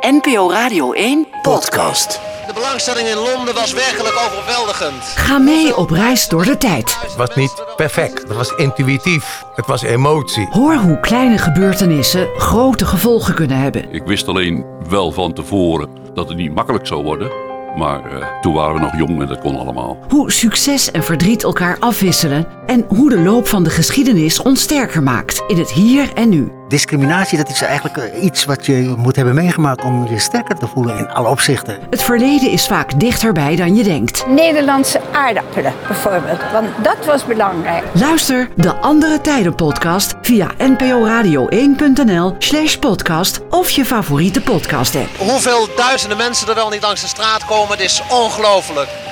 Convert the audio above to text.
NPO Radio 1 podcast. De belangstelling in Londen was werkelijk overweldigend. Ga mee op reis door de tijd. Het was niet perfect, het was intuïtief, het was emotie. Hoor hoe kleine gebeurtenissen grote gevolgen kunnen hebben. Ik wist alleen wel van tevoren dat het niet makkelijk zou worden. Maar eh, toen waren we nog jong en dat kon allemaal. Hoe succes en verdriet elkaar afwisselen. En hoe de loop van de geschiedenis ons sterker maakt in het hier en nu. Discriminatie, dat is eigenlijk eh, iets wat je moet hebben meegemaakt om je sterker te voelen in alle opzichten. Het verleden is vaak dichterbij dan je denkt. Nederlandse aardappelen bijvoorbeeld. Want dat was belangrijk. Luister de Andere Tijden podcast via nporadio1.nl slash podcast of je favoriete podcast app. Hoeveel duizenden mensen er wel niet langs de straat komen, het is ongelooflijk.